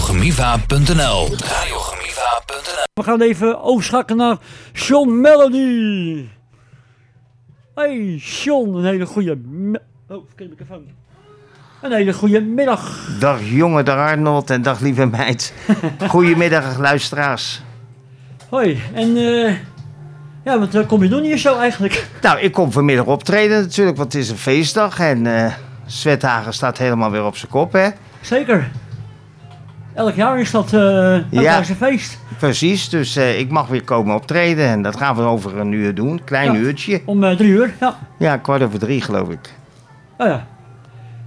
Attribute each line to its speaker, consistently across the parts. Speaker 1: www.radiogemiva.nl Radiogemiva.nl
Speaker 2: We gaan even overschakelen naar Sean Melody. Hey Sean, een hele goede... me- Oh, verkeerde microfoon. Een hele goede middag.
Speaker 3: Dag jongen, dag Arnold en dag lieve meid. Goedemiddag luisteraars.
Speaker 2: Hoi, en eh... Ja, wat eh, kom je doen hier zo eigenlijk?
Speaker 3: Nou, ik kom vanmiddag optreden natuurlijk, want het is een feestdag. En eh Zwethagen staat helemaal weer op zijn kop, hè?
Speaker 2: Zeker. Elk jaar is dat eh elk
Speaker 3: Ja.
Speaker 2: jaar is een feest.
Speaker 3: Precies, dus eh, ik mag weer komen optreden. En dat gaan we over een uur doen, klein
Speaker 2: Ja.
Speaker 3: uurtje.
Speaker 2: Om eh, drie uur, ja.
Speaker 3: Ja, kwart over drie geloof ik.
Speaker 2: Oh ja.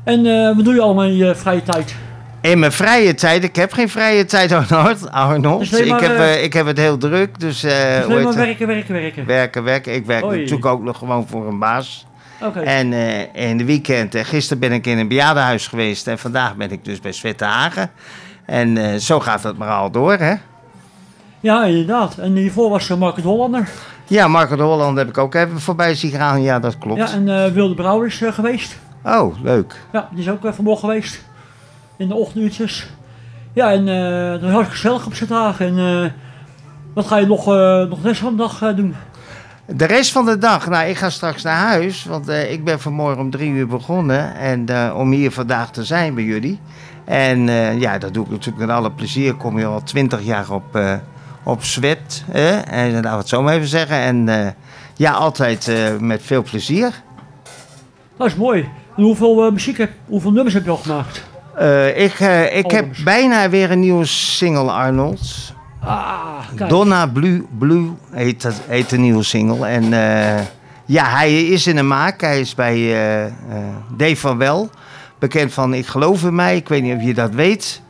Speaker 2: En eh, wat doe je allemaal in je vrije tijd?
Speaker 3: In mijn vrije tijd, ik heb geen vrije tijd, Arnold. Arnold.
Speaker 2: Dus alleen
Speaker 3: ik,
Speaker 2: maar,
Speaker 3: heb,
Speaker 2: eh,
Speaker 3: eh, ik heb het heel druk, dus... eh,
Speaker 2: Dus
Speaker 3: hoe
Speaker 2: alleen
Speaker 3: heet
Speaker 2: maar
Speaker 3: het?
Speaker 2: werken, werken, werken.
Speaker 3: werken, werken. Ik werk
Speaker 2: Oei.
Speaker 3: natuurlijk ook nog gewoon voor een baas.
Speaker 2: Oké.
Speaker 3: En eh, in de weekend, en gisteren ben ik in een bejaardenhuis geweest en vandaag ben ik dus bij Zwette Hagen. En eh, zo gaat dat maar al door, hè?
Speaker 2: Ja, inderdaad. En hiervoor was er Mark het Hollander.
Speaker 3: Ja, Marco de Holland heb ik ook even voorbij zien gaan. Ja, dat klopt.
Speaker 2: Ja, en eh, Wilde Brouwer is eh, geweest.
Speaker 3: Oh, leuk.
Speaker 2: Ja, die is ook eh, vanmorgen geweest. In de ochtenduurtjes. Ja, en eh dat was hartstikke gezellig op z'n dag. En eh, wat ga je nog, eh, nog de rest van de dag eh, doen?
Speaker 3: De rest van de dag, nou, ik ga straks naar huis, want eh, ik ben vanmorgen om drie uur begonnen en eh, om hier vandaag te zijn bij jullie. En eh, ja, dat doe ik natuurlijk met alle plezier. Kom je al twintig jaar op, eh op zwet, hè? en eh, laten we het zo maar even zeggen. En eh, ja, altijd eh, met veel plezier.
Speaker 2: Dat is mooi. En hoeveel eh, muziek heb hoeveel nummers heb je al gemaakt?
Speaker 3: Eh, ik eh, ik heb
Speaker 2: Albums.
Speaker 3: bijna weer een nieuwe single, Arnold.
Speaker 2: Ah, kijk.
Speaker 3: Donna Blue, Blue heet, dat, heet de nieuwe single. En eh, ja, hij is in de maak. Hij is bij eh, eh, Dave van Wel. Bekend van Ik geloof in mij. Ik weet niet of je dat weet.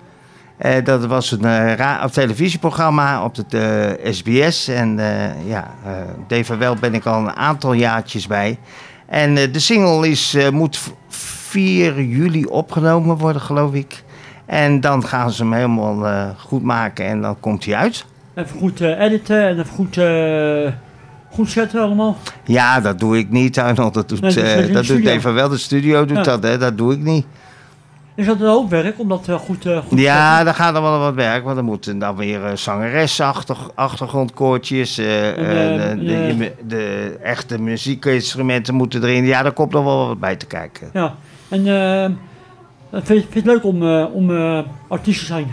Speaker 3: Eh, dat was een eh, ra- of televisieprogramma op de eh, SBS. En eh, ja, eh Dave van Wel ben ik al een aantal jaartjes bij. En eh, de single is, eh, moet v- 4 juli opgenomen worden, geloof ik. En dan gaan ze hem helemaal eh, goed maken en dan komt hij uit.
Speaker 2: Even goed eh, editen en even goed, eh, goed zetten allemaal.
Speaker 3: Ja, dat doe ik niet, Arnold. Dat doet,
Speaker 2: Nee, dat
Speaker 3: eh,
Speaker 2: doet in de
Speaker 3: dat doet
Speaker 2: studio.
Speaker 3: even wel. De studio doet
Speaker 2: Ja.
Speaker 3: dat, hè. Dat doe ik niet.
Speaker 2: Is dat een hoop werk om dat eh, goed, eh, goed te
Speaker 3: Ja, dan gaat er wel wat werk. Want dan moeten dan weer eh zangeresachtig- achtergrondkoortjes. eh, eh,
Speaker 2: eh,
Speaker 3: de, de-
Speaker 2: eh,
Speaker 3: de- de echte muziekinstrumenten moeten erin. Ja, daar komt nog wel wat bij te kijken.
Speaker 2: Ja, en eh, vind, je- vind je het leuk om, eh, om eh, artiest te zijn?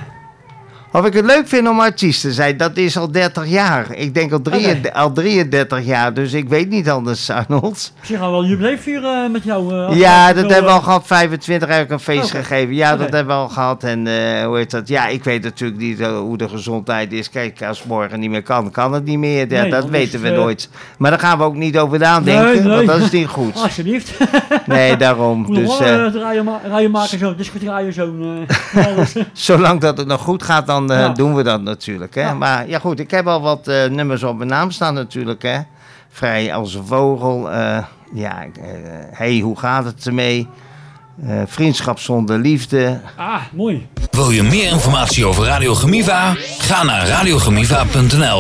Speaker 3: Of ik het leuk vind om artiest te zijn, dat is al 30 jaar. Ik denk
Speaker 2: Oh,
Speaker 3: al, drie,
Speaker 2: Oké.
Speaker 3: al 33 jaar, dus ik weet niet anders, Arnold.
Speaker 2: Misschien gaan we wel een jubileum vieren eh, met jou. eh, als
Speaker 3: Ja,
Speaker 2: je
Speaker 3: dat
Speaker 2: wil,
Speaker 3: hebben
Speaker 2: eh,
Speaker 3: we al gehad. 25 heb ik een feest
Speaker 2: Oké.
Speaker 3: gegeven. Ja, dat
Speaker 2: Oké.
Speaker 3: hebben we al gehad. En eh, hoe heet dat? Ja, ik weet natuurlijk niet eh, hoe de gezondheid is. Kijk, als het morgen niet meer kan, kan het niet meer. Ja,
Speaker 2: Nee,
Speaker 3: dat
Speaker 2: anders,
Speaker 3: weten we
Speaker 2: eh,
Speaker 3: nooit. Maar daar gaan we ook niet over
Speaker 2: Nee,
Speaker 3: nadenken,
Speaker 2: nee.
Speaker 3: want dat is niet goed.
Speaker 2: Alsjeblieft.
Speaker 3: Nee, daarom.
Speaker 2: Moet nog
Speaker 3: Dus
Speaker 2: wel
Speaker 3: eh,
Speaker 2: eh, draaien, ma- rijen maken zo, disco draaien zo. eh, alles.
Speaker 3: zolang dat het nog goed gaat, dan eh,
Speaker 2: Ja.
Speaker 3: doen we dat natuurlijk. Hè?
Speaker 2: Ja.
Speaker 3: Maar ja, goed, ik heb al wat eh, nummers op mijn naam staan natuurlijk. Hè? Vrij als een vogel. eh, ja, eh, hey, hoe gaat het ermee? Eh, vriendschap zonder liefde.
Speaker 2: ah, mooi.
Speaker 1: Wil je meer informatie over Radio Gemiva? Ga naar radiogemiva.nl